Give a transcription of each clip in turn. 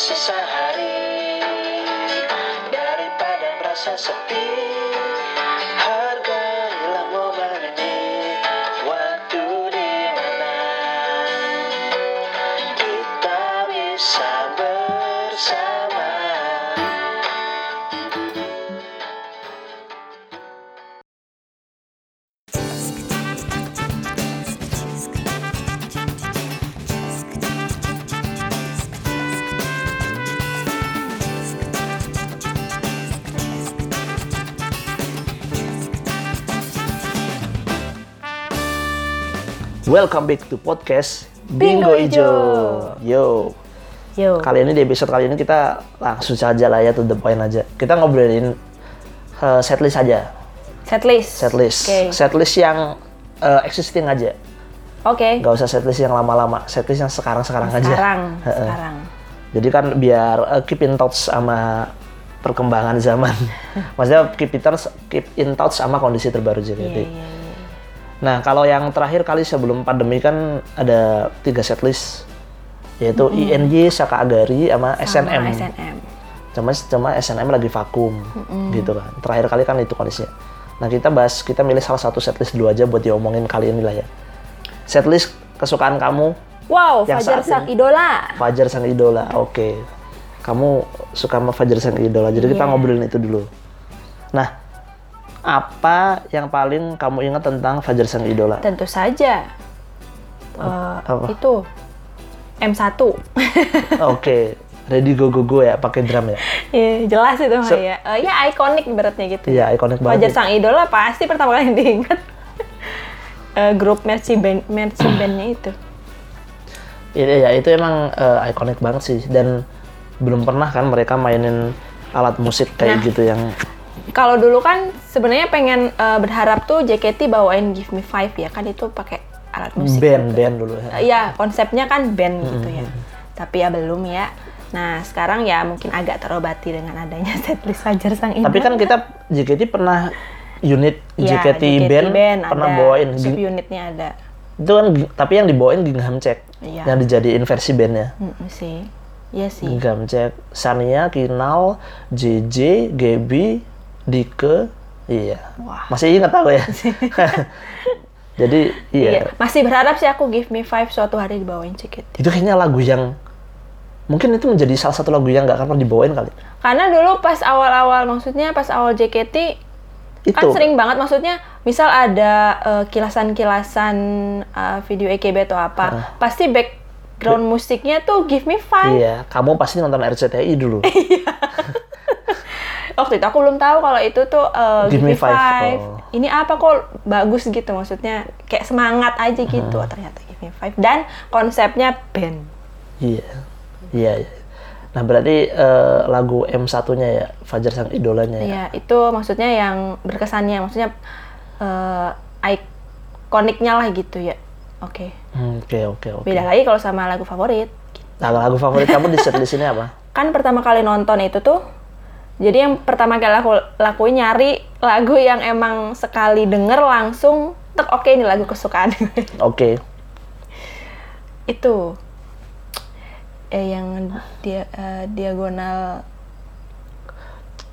sisa hari daripada merasa sepi hargailah momen ini waktu di mana kita bisa bersama Welcome back to podcast Bingo Bingo Ijo. Ijo. Yo, Yo. kali ini di episode kali ini kita langsung saja lah ya to the point aja. Kita ngobrolin eh, setlist aja, Setlist. setlist, Oke. setlist yang eh, existing aja. Oke. Gak usah setlist yang lama-lama, setlist yang sekarang-sekarang aja. Sekarang. Heeh. Sekarang. Jadi kan biar eh, keep in touch sama Nah, perkembangan zaman. Maksudnya keep in touch, keep in touch sama kondisi terbaru JKT. Iya, iya, iya. Nah, kalau yang terakhir kali sebelum pandemi kan ada tiga setlist yaitu INY, Saka Agari, sama, Sama SNM. SNM. Cuma cuma SNM lagi vakum gitu kan. Terakhir kali kan itu kondisinya. Nah, kita bahas kita milih salah satu setlist dulu aja buat diomongin kali ini lah ya. Setlist kesukaan kamu Wow, Yang Fajar saat Sang ini. Idola. Fajar Sang Idola. Oke. Kamu suka sama Fajar Sang Idola. Jadi kita Iya. ngobrolin itu dulu. Nah, apa yang paling kamu ingat tentang Fajar Sang Idola? Tentu saja. Eh, apa? Itu. M1. Oke, ready go go go ya pakai drum ya. Iya, jelas itu mah So- ya. Eh, ya ikonik beratnya gitu. Iya, ikonik banget. Fajar ya. Sang Idola pasti pertama kali yang diingat. Eh, grup Mercy Band, Mercy Bandnya itu. Iya, iya, itu emang eh, ikonik banget sih dan belum pernah kan mereka mainin alat musik kayak Nah. gitu yang Kalau dulu kan sebenarnya pengen eh, berharap tuh JKT bawain Give Me Five ya kan itu pakai alat musik. band Hmm, band dulu. Eh, ya konsepnya kan band gitu ya tapi ya belum ya nah sekarang ya mungkin agak terobati dengan adanya setlist Fajar Sang Idola Tapi kan kita JKT pernah unit Ya, JKT, band, pernah ada, bawain Ging- subunitnya ada itu kan gi- tapi yang dibawain Gingham Check Iya. yang dijadiin versi bandnya. Mm, sih Iya sih Gingham Check, Sania, Kinal, JJ, Gebi, Dike, iya. Wah. Masih ingat aku ya. Jadi iya. Iya. masih berharap sih aku Give Me Five suatu hari dibawain JKT itu kayaknya lagu yang mungkin itu menjadi salah satu lagu yang nggak akan pernah dibawain kali karena dulu pas awal-awal maksudnya pas awal JKT itu kan sering banget maksudnya misal ada eh, kilasan-kilasan eh, video EKB atau apa pasti background musiknya tuh Give Me Five Ah. iya kamu pasti nonton RCTI dulu waktu itu aku belum tahu kalau itu tuh uh, Give Give Me Me Five. Five. Oh. Ini apa kok bagus gitu maksudnya kayak semangat aja gitu Oh, ternyata Give Me Five dan konsepnya band. iya iya iya. nah berarti eh, lagu M 1 nya ya Fajar sang idolanya ya Iya, itu maksudnya yang berkesannya maksudnya eh ikoniknya lah gitu ya. Oke. Hmm, oke oke oke Beda lagi kalau sama lagu favorit. nah lagu favorit kamu di setlist ini apa Kan pertama kali nonton itu tuh jadi yang pertama kali aku lakuin nyari lagu yang emang sekali denger langsung tek oke ini lagu kesukaan gue. oke itu eh yang dia eh, diagonal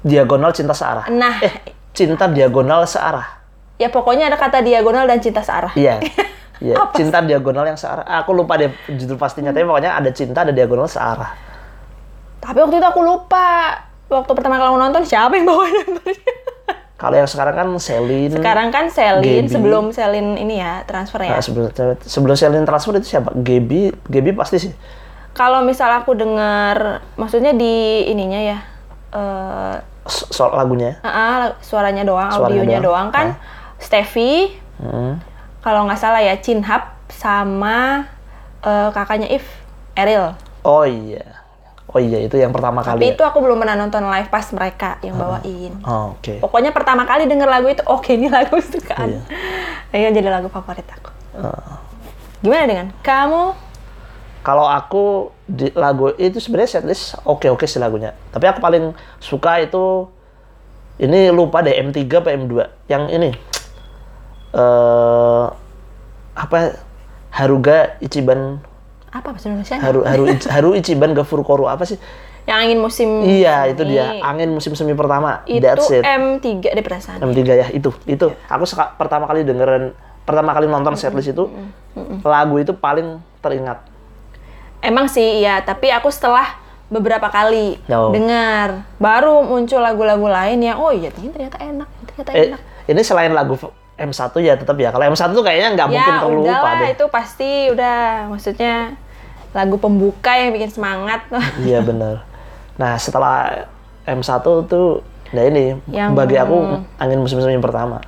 diagonal cinta searah Eh, nah cinta diagonal searah ya pokoknya ada kata diagonal dan cinta searah iya Iya, Apa cinta diagonal yang searah. Aku lupa deh judul pastinya, tapi pokoknya ada cinta ada diagonal searah. tapi waktu itu aku lupa waktu pertama kali aku nonton siapa yang bawa namanya Kalau yang sekarang kan Selin. sekarang kan Selin Gaby. sebelum Selin ini ya transfer ya Nah, sebelum, sebelum Selin transfer itu siapa? Gebi, Gebi pasti sih. kalau misal aku dengar maksudnya di ininya ya eh So- Soal lagunya. ah, ah, suaranya doang Suaranya audionya doang, doang. kan Steffi Hmm. kalau nggak salah ya Chinhap sama eh, kakaknya If Eril Oh iya. Oh iya, itu yang pertama Tapi kali. itu aku belum pernah nonton live pas mereka yang bawain. Oh, Oke. Pokoknya pertama kali denger lagu itu, oke ini lagu sukaan. Iya. jadi lagu favorit aku. Ah. Gimana dengan kamu? Kalau aku di lagu itu sebenarnya setlist oke-oke sih lagunya. Tapi aku paling suka itu ini lupa deh M3 apa M2. Yang ini eh apa Haruga Ichiban apa bahasa Indonesia? Haru Haru Ichi- Haru Ichiban Gafurukoru apa sih? Yang angin musim Iya, semi. itu dia. Angin musim semi pertama. Itu Iya. That's it. M3 deh perasaan. M3 ya, itu. Itu aku seka- pertama kali dengerin pertama kali nonton setlist itu lagu itu paling teringat. Emang sih iya, tapi aku setelah beberapa kali Oh. dengar baru muncul lagu-lagu lain yang oh iya ini ternyata enak, ini ternyata Eh, enak. ini selain lagu f- M1 ya tetap ya. Kalau M1 tuh kayaknya nggak mungkin ya kamu udah lupa lah, deh. itu pasti udah maksudnya lagu pembuka yang bikin semangat. Iya benar. Nah setelah M1 tuh, nah ini Yang- mm. bagi aku angin musim semi pertama.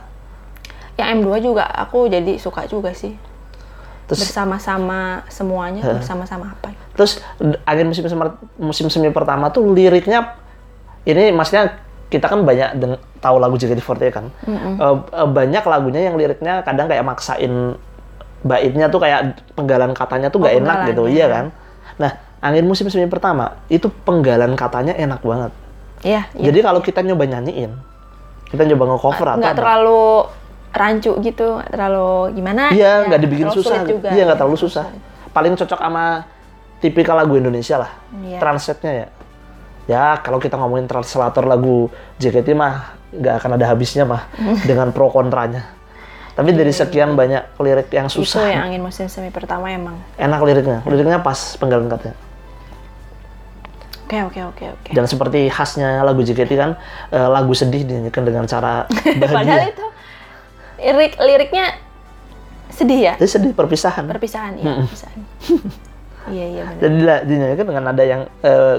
yang M2 Ya, juga aku jadi suka juga sih. Terus Bersama-sama semuanya, bersama-sama apa? ya? terus angin musim semi, musim semi pertama tuh liriknya ini maksudnya kita kan banyak deng- tahu lagu JKT48 kan Eh, eh, banyak lagunya yang liriknya kadang kayak maksain baitnya tuh kayak penggalan katanya Oh, tuh nggak enak penggalan, gitu ya. iya kan nah angin musim semi pertama itu penggalan katanya enak banget Iya, iya. jadi kalau kita nyoba nyanyiin kita nyoba nge-cover atau nggak apa, terlalu rancu gitu, nggak terlalu gimana? ya, Iya, nggak dibikin terlalu susah. sulit juga. ya. Iya, nggak terlalu susah. Paling cocok sama tipikal lagu Indonesia lah. Iya. Translate-nya ya. Ya, kalau kita ngomongin translator lagu JKT mah nggak akan ada habisnya mah dengan pro kontranya. Tapi dari sekian banyak lirik yang Iya. Itu ya. yang susah, angin musim semi pertama emang. enak liriknya. Liriknya pas penggalan katanya. Oke, oke, oke, oke. Dan seperti khasnya lagu JKT kan, eh, lagu sedih dinyanyikan dengan cara Padahal bahagia. itu lirik liriknya sedih ya, Jadi sedih perpisahan. perpisahan ya, perpisahan. iya, iya benar. Jadi dila- dinyanyikan dengan nada yang eh,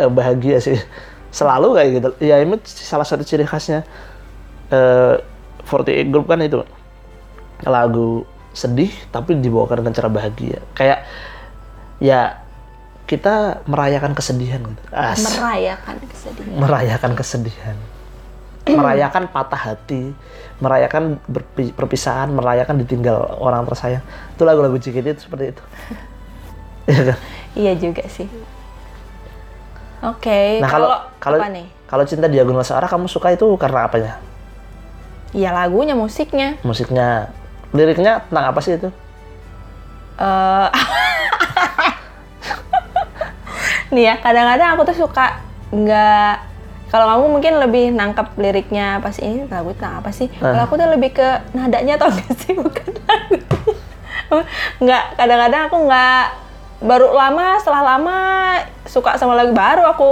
eh, bahagia sih. Selalu kayak gitu. Ya ini salah satu ciri khasnya eh 48 Group kan itu. Lagu sedih tapi dibawakan dengan cara bahagia. Kayak ya kita merayakan kesedihan gitu. As, Merayakan ya kan, kesedihan. merayakan kesedihan. merayakan patah hati, merayakan berpi- perpisahan, merayakan ditinggal orang tersayang. Itu lagu-lagu JKT itu seperti itu. Iya kan? Iya juga sih. Oke, Nah kalau kalau kalau apa nih? kalau cinta diagonal searah kamu suka itu karena apanya? Iya lagunya, musiknya. Musiknya, liriknya tentang apa sih itu? eh Nih ya, kadang-kadang aku tuh suka nggak kalau kamu mungkin lebih nangkep liriknya apa sih ini lagu tentang apa sih? Ah. Kalau aku tuh lebih ke nadanya tau gak sih bukan lagu. nggak kadang-kadang aku nggak baru lama setelah lama suka sama lagu baru aku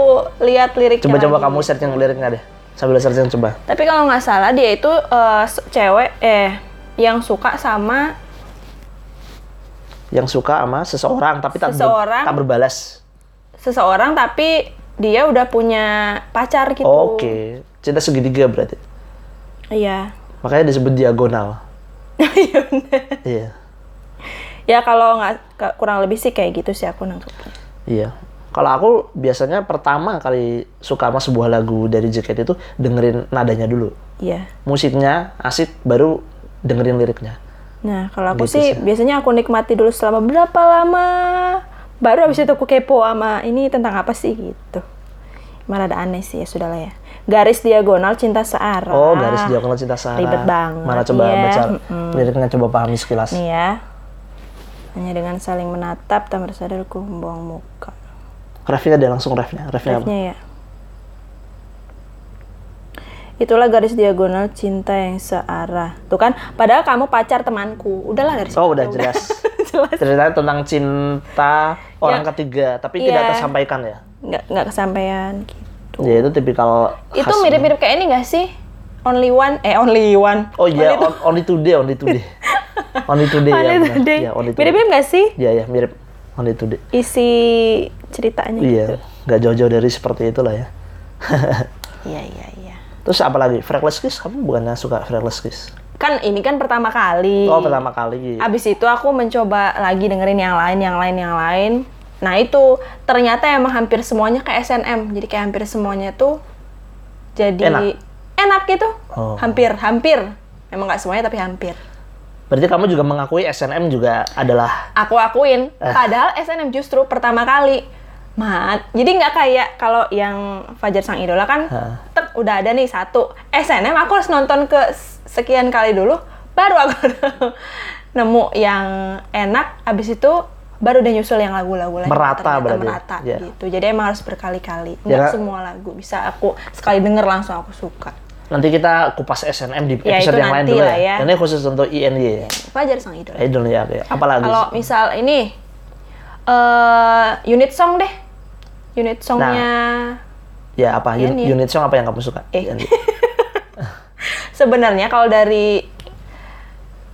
lihat liriknya. Coba-coba lagi. kamu searching liriknya deh. Sambil searching coba. Tapi kalau nggak salah dia itu eh, se- cewek eh yang suka sama Yang suka sama seseorang tapi tak ber- Seseorang. tak berbalas. seseorang tapi dia udah punya pacar gitu. Oke, cinta segitiga berarti. Iya. Makanya disebut diagonal. Oh, Iya. Ya kalau nggak ke- kurang lebih sih kayak gitu sih aku nangkepnya. Iya. Kalau aku biasanya pertama kali suka sama sebuah lagu dari JKT itu dengerin nadanya dulu. Iya. Musiknya asik baru dengerin liriknya. Nah kalau aku Gitu sih sih. biasanya aku nikmati dulu selama berapa lama. Baru habis itu aku kepo sama ini tentang apa sih gitu. Malah ada aneh sih ya sudahlah ya. Garis diagonal cinta searah. Oh, garis diagonal cinta Sarah. Ribet banget, Mana coba iya. baca Mm-mm. liriknya coba pahami sekilas. Nih ya. Hanya dengan saling menatap tak bersadar ku membuang muka. Refnya deh langsung refnya. Refnya apa? Refnya ya. Itulah garis diagonal cinta yang searah. Tuh kan, padahal kamu pacar temanku. Udahlah garis. Oh, udah jelas. jelas. Ceritanya tentang cinta orang ketiga tapi Iya. tidak tersampaikan ya. Nggak nggak kesampaian gitu. Ya itu tipikal Itu khas- mirip-mirip kayak ini nggak sih? Only one, eh only one. Oh iya, on- only today, only today. only today ya. Only benar. today. Ya, only today. Mirip-mirip nggak sih Iya, iya, mirip only today. isi ceritanya? Iya, gitu? nggak jauh-jauh dari seperti itulah ya. Iya iya iya. Terus apa lagi? Freckles Kiss, kamu bukannya suka Freckles Kiss? Kan ini kan pertama kali. Oh, pertama kali. Abis itu aku mencoba lagi dengerin yang lain, yang lain, yang lain. Nah itu ternyata emang hampir semuanya kayak SNM, jadi kayak hampir semuanya tuh jadi Enak. enak gitu, Oh. hampir, hampir. Emang nggak semuanya tapi hampir. Berarti kamu juga mengakui SNM juga adalah Aku Eh. akuin, padahal SNM justru pertama kali. Mat, jadi nggak kayak kalau yang Fajar Sang Idola kan, Hah. tek, udah ada nih satu. SNM aku harus nonton ke sekian kali dulu, baru aku nemu yang enak. Abis itu baru dia nyusul yang lagu-lagu lain Merata Ternyata berarti. merata Iya. gitu jadi emang harus berkali-kali Ya, nggak Kak. semua lagu bisa aku sekali denger langsung aku suka Nanti kita kupas SNM di Ya, itu episode yang lain nanti dulu lah ya. ya. Ini khusus untuk INY ya. Fajar sang idola Idol ya, oke. Apalagi? Kalau misal ini eh unit song deh. Unit songnya ya apa? Un- Ini. Unit song apa yang kamu suka? Eh. Yanti? sebenarnya kalau dari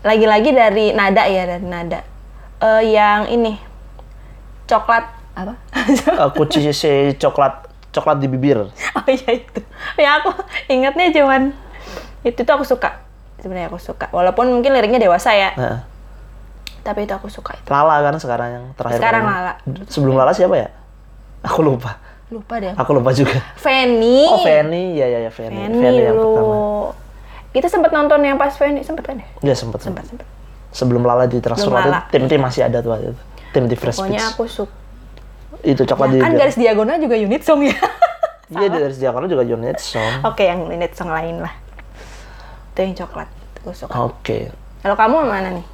lagi-lagi dari nada ya dari nada. Eh yang ini coklat apa? Eh, kucing si coklat coklat di bibir. oh iya itu. Ya aku ingatnya cuman itu tuh aku suka. Sebenarnya aku suka. Walaupun mungkin liriknya dewasa ya, Nah, tapi itu aku suka itu. Lala kan sekarang yang terakhir. Sekarang kali. Lala. Sebelum Lala siapa ya? Aku lupa. Lupa deh. aku. Aku lupa juga. Fanny. Oh, Fanny. Ya ya ya Fanny. Fanny, yang lu. pertama. Kita sempat nonton yang pas Fanny, sempat kan ya? Ya sempat. Sempat, sempat. Sebelum Lala ditransfer Sebelum waktu Lala. itu, tim tim masih ada tuh waktu itu. Tim di Fresh Pokoknya Pitch. aku suka. Itu coklat di kan bibir. garis diagonal juga unit song ya. Iya dari Jakarta juga unit song. Oke, yang unit song lain lah. Itu yang coklat. Itu Aku suka. Oke. Kalau kamu mana nih?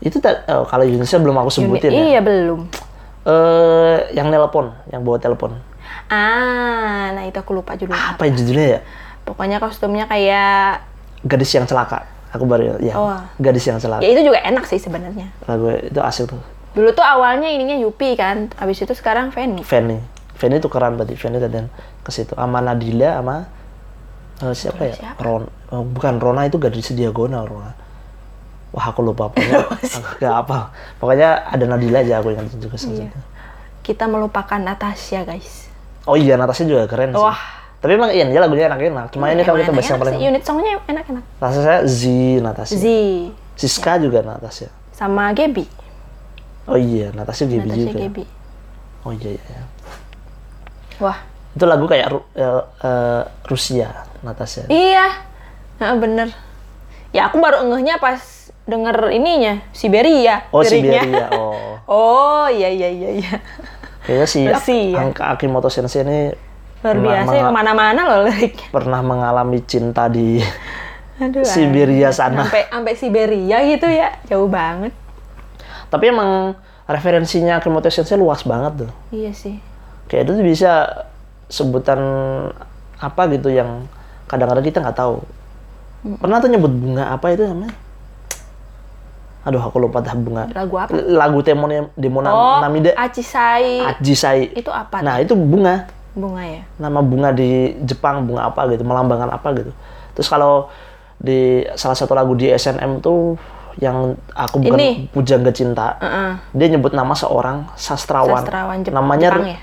Itu ta- oh, kalau Indonesia belum aku Unit- sebutin ya. Iya, belum. Eh, yang nelpon, yang bawa telepon. Ah, nah itu aku lupa judulnya. Apa ya judulnya ya? Pokoknya kostumnya kayak Gadis yang celaka. Aku baru ya. Oh. Gadis yang celaka. ya itu juga enak sih sebenarnya. Lagu itu asik tuh. Dulu tuh awalnya ininya Yupi kan, abis itu sekarang Fanny. Fanny. Fanny tuh keren berarti. Fanny dan ke situ. Sama Nadila sama eh, siapa ya? Siapa? Ron. oh, bukan Rona itu gadis diagonal Rona. Wah aku lupa pokoknya. aku gak apa. Pokoknya ada Nadila aja aku ingat juga Iya. satu. Kita melupakan Natasha, guys. Oh iya Natasha juga keren sih. Wah. Iya, Tapi emang iya dia lagunya enak-enak. Cuma ini kalau kita Emang bahas yang enak-enak paling sih, unit songnya enak-enak. rasa saya Z Natasha. Z Ya. Siska juga Natasha. sama Gaby. Oh iya Natasha Gaby Natasha juga. Gaby. Oh iya, iya iya. Wah, Itu lagu kayak Ru- eh, eh, Rusia Natasha. Iya, nah, bener. Ya aku baru ngehnya pas denger ininya Siberia. Oh liriknya. Siberia. Oh. Oh iya iya iya iya. Kayaknya si Rusia. Angka Akimoto Sensei ini Luar pernah biasa ya, menga- kemana-mana loh liriknya. pernah mengalami cinta di Aduh. Siberia aduh. sana. Sampai sampai Siberia gitu ya, jauh banget. Tapi emang referensinya Akimoto Sensei luas banget tuh. Iya sih. Kayak itu tuh bisa sebutan apa gitu yang kadang-kadang kita nggak tahu. Hmm. Pernah tuh nyebut bunga apa itu namanya? Aduh aku lupa dah bunga. Lagu apa? Lagu temonya Demona Oh, Namida Achisai Ajisai. itu apa? Nah itu bunga. bunga ya. nama bunga di Jepang bunga apa gitu melambangkan apa gitu terus kalau di salah satu lagu di SNM tuh yang aku bukan Ini. pujangga cinta Heeh. dia nyebut nama seorang sastrawan, Sastrawan Jep- namanya Jepang ya?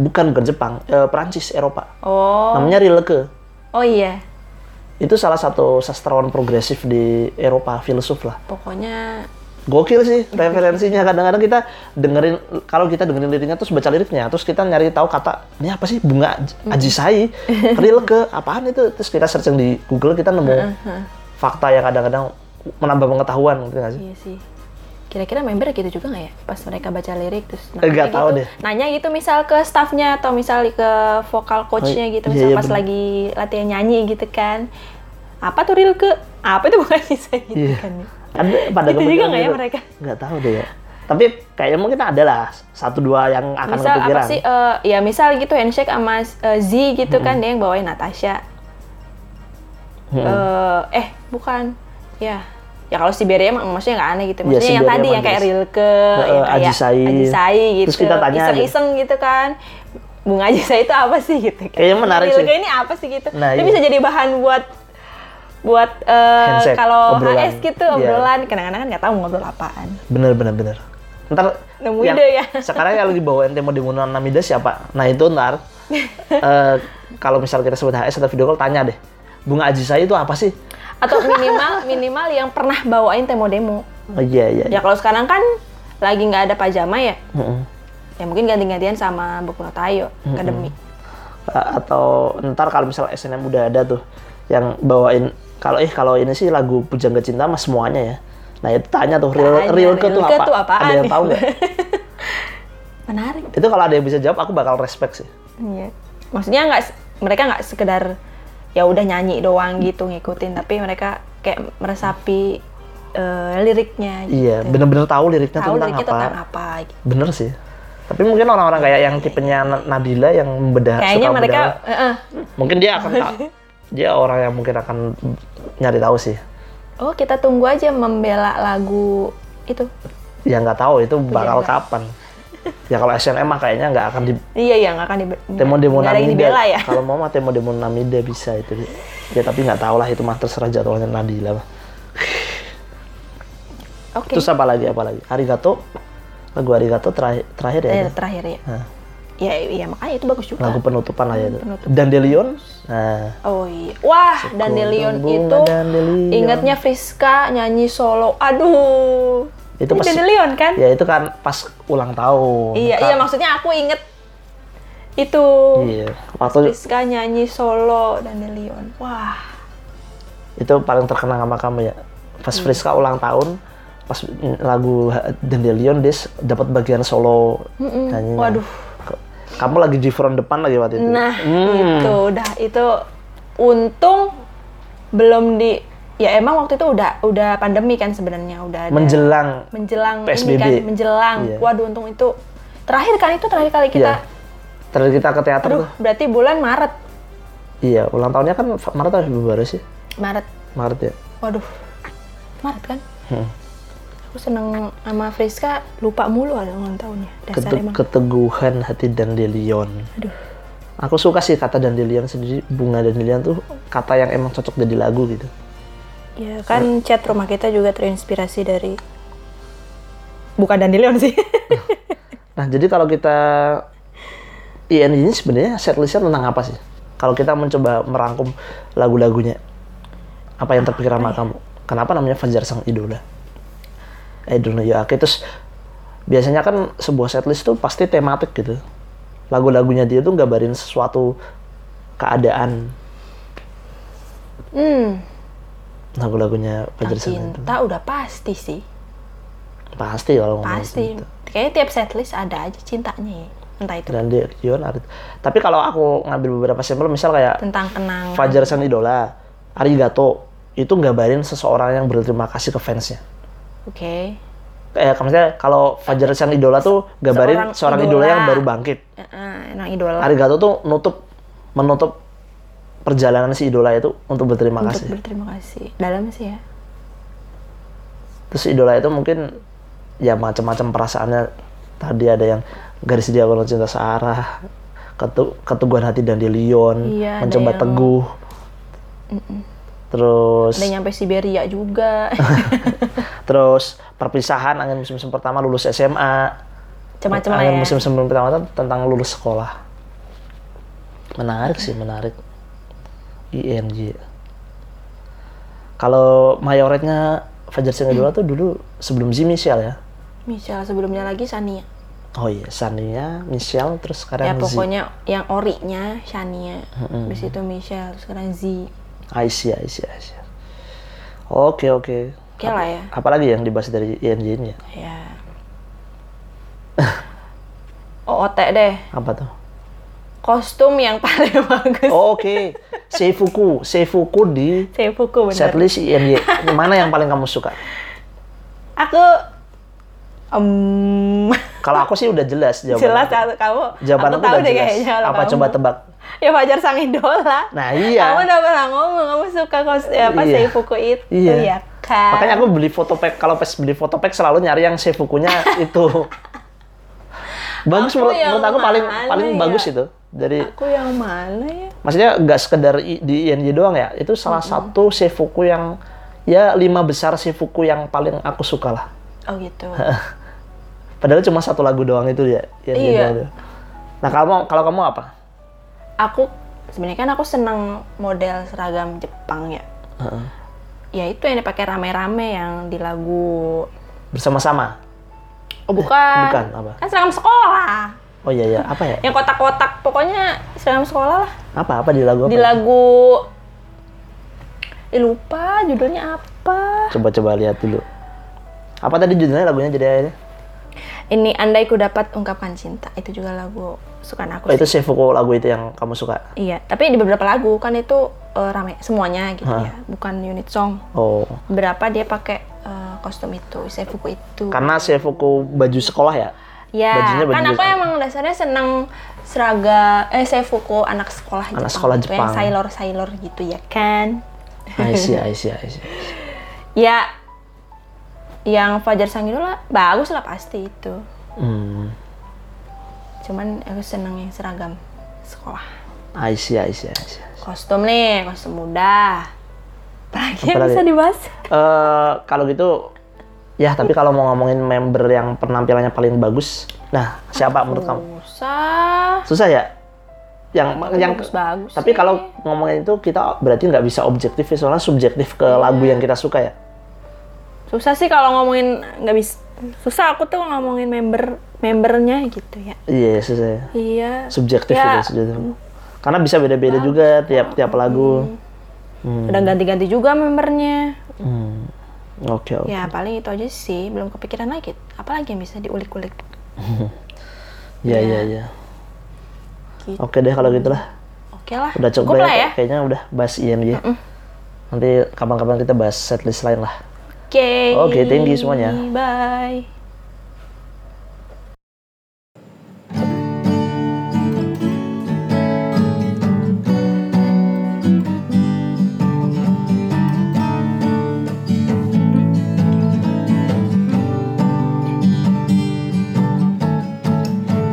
bukan bukan Jepang eh, Perancis Eropa Oh. namanya Rilke Oh iya. itu salah satu sastrawan progresif di Eropa filsuf lah Pokoknya gokil sih referensinya kadang-kadang kita dengerin kalau kita dengerin liriknya terus baca liriknya terus kita nyari tahu kata ini apa sih bunga aj- ajisai real ke apaan itu terus kita searching di Google kita nemu Uh-huh. fakta yang kadang-kadang menambah pengetahuan gitu nggak sih Iya sih. Kira-kira member gitu juga nggak ya? Pas mereka baca lirik terus Eh, nggak gitu, tahu deh. Nanya gitu misal ke staffnya atau misal ke vokal coachnya Oh, gitu. iya, Misal iya, pas bener. lagi latihan nyanyi gitu kan. Apa tuh Rilke? Apa itu bukan bisa gitu Iya. kan ya. ada pada Gitu juga kepikiran nggak ya gitu. mereka? nggak tahu deh ya tapi kayaknya mungkin ada lah satu dua yang akan Misal apa kepikiran sih, eh, ya misal gitu handshake sama eh, Z gitu kan, dia yang bawain Natasha. Mm-mm. Eh, eh, bukan. Ya, ya kalau Siberia emang maksudnya nggak aneh gitu. Iya, Maksudnya yang Siberia tadi emang yang kayak jelas. Rilke, Heeh, yang kayak Ajisai. Ajisai gitu. Terus kita tanya gitu. iseng-iseng gitu kan. Bunga Ajisai itu apa sih gitu kan. Kayaknya menarik Rilke sih. ini apa sih gitu. Nah, Itu iya. bisa jadi bahan buat buat eh, Handshake, kalau obrolan. HS gitu Iya. obrolan kadang-kadang kan nggak tahu ngobrol apaan bener bener bener ntar Nemu ide ya. sekarang yang lagi bawain tema di Munan Namida siapa nah itu ntar eh, kalau misal kita sebut HS atau video call tanya deh bunga ajisai itu apa sih atau minimal minimal yang pernah bawain temo demo oh iya iya ya kalau sekarang kan lagi nggak ada pajama ya Mm-mm. ya mungkin ganti-gantian sama Boku no Tayo Academy Eh, atau ntar kalau misal SNM udah ada tuh yang bawain kalau eh kalau ini sih lagu pujangga cinta mas semuanya ya nah itu tanya tuh real Tanya, real ke tuh Rilke apa tuh apaan? ada yang tahu nggak menarik itu kalau ada yang bisa jawab aku bakal respect sih Iya. maksudnya nggak se- mereka nggak sekedar ya udah nyanyi doang gitu ngikutin tapi mereka kayak meresapi eh, liriknya gitu. Iya, bener-bener tahu liriknya tahu tentang liriknya apa. tentang apa gitu. Bener sih. Tapi mungkin orang-orang kayak yang tipenya Na- Nabila yang bedah Kayaknya suka mereka bedah- eh, eh, mungkin dia akan ta- dia orang yang mungkin akan nyari tahu sih. oh kita tunggu aja membela lagu itu. Ya nggak tahu itu bakal enggak. kapan. Ya kalau SNM mah kayaknya nggak akan di Iya iya nggak akan di Demo demo nggak ada yang Namida. dibela ya. Kalau mau mah demo demo Namida bisa itu. Ya tapi nggak tahu lah itu mah terserah jadwalnya Nadila. Oke. Terus apa lagi apa lagi? Arigato. Lagu Arigato terakhir, terakhir ya. Eh, itu? terakhir ya. Nah, Ya iya makanya itu bagus juga. lagu penutupan lah ya itu. Penutup. Dandelion. Nah, Oh iya. Wah, Dandelion bunga itu Dandelion. ingatnya Friska nyanyi solo. Aduh. Itu Ini pas- Dandelion kan? ya itu kan pas ulang tahun. Iya, Kan- iya maksudnya aku inget itu. Iya. Waktu Friska nyanyi solo Dandelion. Wah. itu paling terkenang sama kamu ya. Pas Hmm. Friska ulang tahun, pas lagu Dandelion dia dapat bagian solo nyanyinya. Waduh. Kamu lagi di front depan lagi waktu itu. Nah, Hmm. itu udah itu untung belum di ya emang waktu itu udah udah pandemi kan sebenarnya udah ada menjelang menjelang ini PSBB. kan menjelang Iya. waduh untung itu terakhir kan itu terakhir kali Iya. kita Terakhir kita ke teater aduh tuh. berarti bulan Maret Iya, ulang tahunnya kan Fa- Maret atau Februari sih? Maret Maret ya. waduh Maret kan Hmm. aku seneng sama Friska lupa mulu ada ulang tahunnya dasar Kete- emang keteguhan hati Dandelion. aduh Aku suka sih kata Dandelion sendiri, bunga Dandelion tuh kata yang emang cocok jadi lagu gitu. ya kan chat rumah kita juga terinspirasi dari bukan Dandelion sih Nah, jadi kalau kita IN ini sebenarnya setlistnya tentang apa sih? Kalau kita mencoba merangkum lagu-lagunya, apa yang terpikir sama kamu? Kenapa namanya Fajar Sang Idola? I don't know, ya oke. Terus biasanya kan sebuah setlist tuh pasti tematik gitu. Lagu-lagunya dia tuh gambarin sesuatu keadaan hmm lagu-lagunya Fajar Sang Idola. cinta udah pasti sih Iya, Pasti kalau ngomong pasti gitu. kayaknya tiap setlist ada aja cintanya ya. entah itu Dan dia, Dion, Arit. Tapi kalau aku ngambil beberapa sampel, misal kayak tentang kenang Fajar San Idola, Arigato, itu nggambarin seseorang yang berterima kasih ke fansnya. oke Kayak maksudnya kalau Fajar San Idola tuh nggambarin Seorang seorang, idola. idola. yang baru bangkit. Eh, eh, emang idola Arigato tuh nutup menutup perjalanan si idola itu untuk berterima untuk kasih. berterima kasih dalam sih ya Terus idola itu mungkin ya macam-macam perasaannya. Tadi ada yang garis dia kalau cinta searah, ketu- keteguhan hati dan Leon, Iya, ada mencoba yang- teguh. Terus ada yang nyampe Siberia juga Terus perpisahan angin musim-musim pertama lulus SMA. macam-macam lah angin ya musim-musim pertama tuh tentang lulus sekolah. Menarik sih, menarik. ING. Kalau mayoretnya Fajar Singh Idola tuh dulu sebelum Z Michelle ya. Michelle sebelumnya lagi Sania Oh iya, Sania, Michelle, terus ya sekarang Z. pokoknya yang orinya Shania habis itu Michelle terus sekarang Z Aisyah, Aisyah, Aisyah. Oke, oke. oke lah ya Apalagi yang dibahas dari ING ini ya? ya OOT Oh, deh Apa tuh? kostum yang paling bagus Oh, oke, Seifuku. Seifuku di Seifuku bener setlist IMY mana yang paling kamu suka? aku em Kalau aku sih udah jelas jawaban. jelas aku. aku- kamu Jawaban aku aku tahu udah deh jelas. kayaknya kalau Apa kamu. coba tebak? ya Fajar Sang Idola Nah, iya. kamu udah pernah ngomong kamu suka kos eh, apa Iya. Seifuku itu Iya. ya kan Makanya aku beli foto pack. Kalau pas beli foto pack selalu nyari yang seifukunya itu. bagus Aku menurut, yang menurut aku paling mana paling ya? bagus itu. Jadi aku yang mana ya maksudnya nggak sekedar i- di INJ doang ya. Itu salah satu seifuku yang ya lima besar seifuku yang paling aku suka lah. oh gitu Padahal cuma satu lagu doang itu ya. INJ Iya. doang itu. Nah kalau kalau kamu apa? aku sebenarnya kan aku seneng model seragam Jepang ya Heeh. ya itu yang dipakai rame-rame yang di lagu Bersama-sama. oh bukan bukan, apa? kan seragam sekolah Oh iya iya apa ya? yang kotak-kotak pokoknya seragam sekolah lah Apa apa di lagu apa? di lagu eh, lupa judulnya apa Coba-coba lihat dulu. Apa tadi judulnya lagunya jadi akhirnya? ini andai ku dapat ungkapkan cinta itu juga lagu sukaan Oh, aku itu sih. Seifuku lagu itu yang kamu suka. iya tapi di beberapa lagu kan itu eh, rame semuanya gitu Hah. ya bukan unit song Oh, beberapa dia pakai eh, eh, kostum itu, seifuku itu. Karena Seifuku baju sekolah ya. ya, Kan bajunya baju kan aku Jepang. emang dasarnya seneng seragam eh seifuku anak sekolah Anak Jepang. sekolah gitu, Yang Jepang. sailor-sailor gitu ya kan. I see, I see, I see. Ya yang Fajar Sangidola bagus lah pasti itu. Hmm, Cuman aku seneng yang seragam sekolah. I see, I see, I see. Kostum nih, kostum muda. Apalagi yang Apalagi? bisa dibahas? Eh, kalau gitu, ya tapi kalau mau ngomongin member yang penampilannya paling bagus, nah siapa menurut kamu? Oh. Usah. Susah ya? Yang yang bagus-bagus Tapi sih. kalau ngomongin itu kita berarti nggak bisa objektif, ya, soalnya subjektif Iya. ke lagu yang kita suka ya. susah sih kalau ngomongin nggak bisa susah aku tuh ngomongin member membernya gitu ya Iya, susah. ya. iya Subjektif ya, itu, subjektif. Karena bisa beda-beda juga tiap-tiap lagu. udah ganti-ganti juga membernya Hmm, Oke, oke. ya paling itu aja sih belum kepikiran lagi apalagi yang bisa diulik-ulik Iya, iya, iya. Gitu. Oke deh kalau gitulah. oke lah Udah cukup, lah ya ya. Kayaknya udah bahas IMJ. Nanti kapan-kapan kita bahas setlist lain lah. oke Oke, thank you semuanya. bye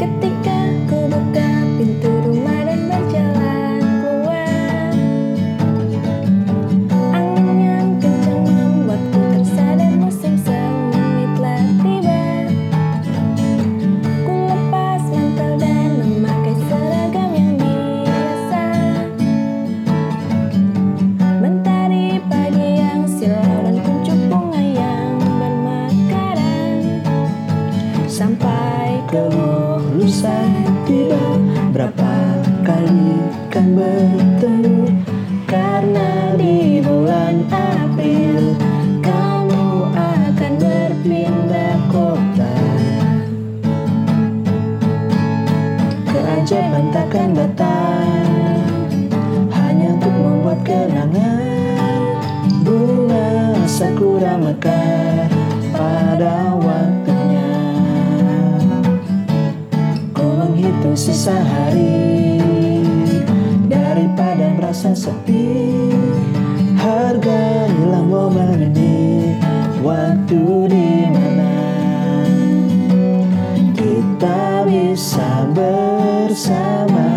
Ketika ku buka pintu rumah dan berjalan keluar Angin yang kencang membuatku tersadar musim semi telah tiba Ku lepas mantel dan memakai seragam yang biasa Mentari pagi yang silau dan kuncup bunga yang bermekaran sampai keluh rusa tiba berapa kali kan bertemu karena di bulan April kamu akan berpindah kota keajaiban takkan datang hanya untuk membuat kenangan bunga sakura mekar pada waktunya ku menghitung sisa hari daripada merasa sepi hargailah momen ini waktu di mana kita bisa bersama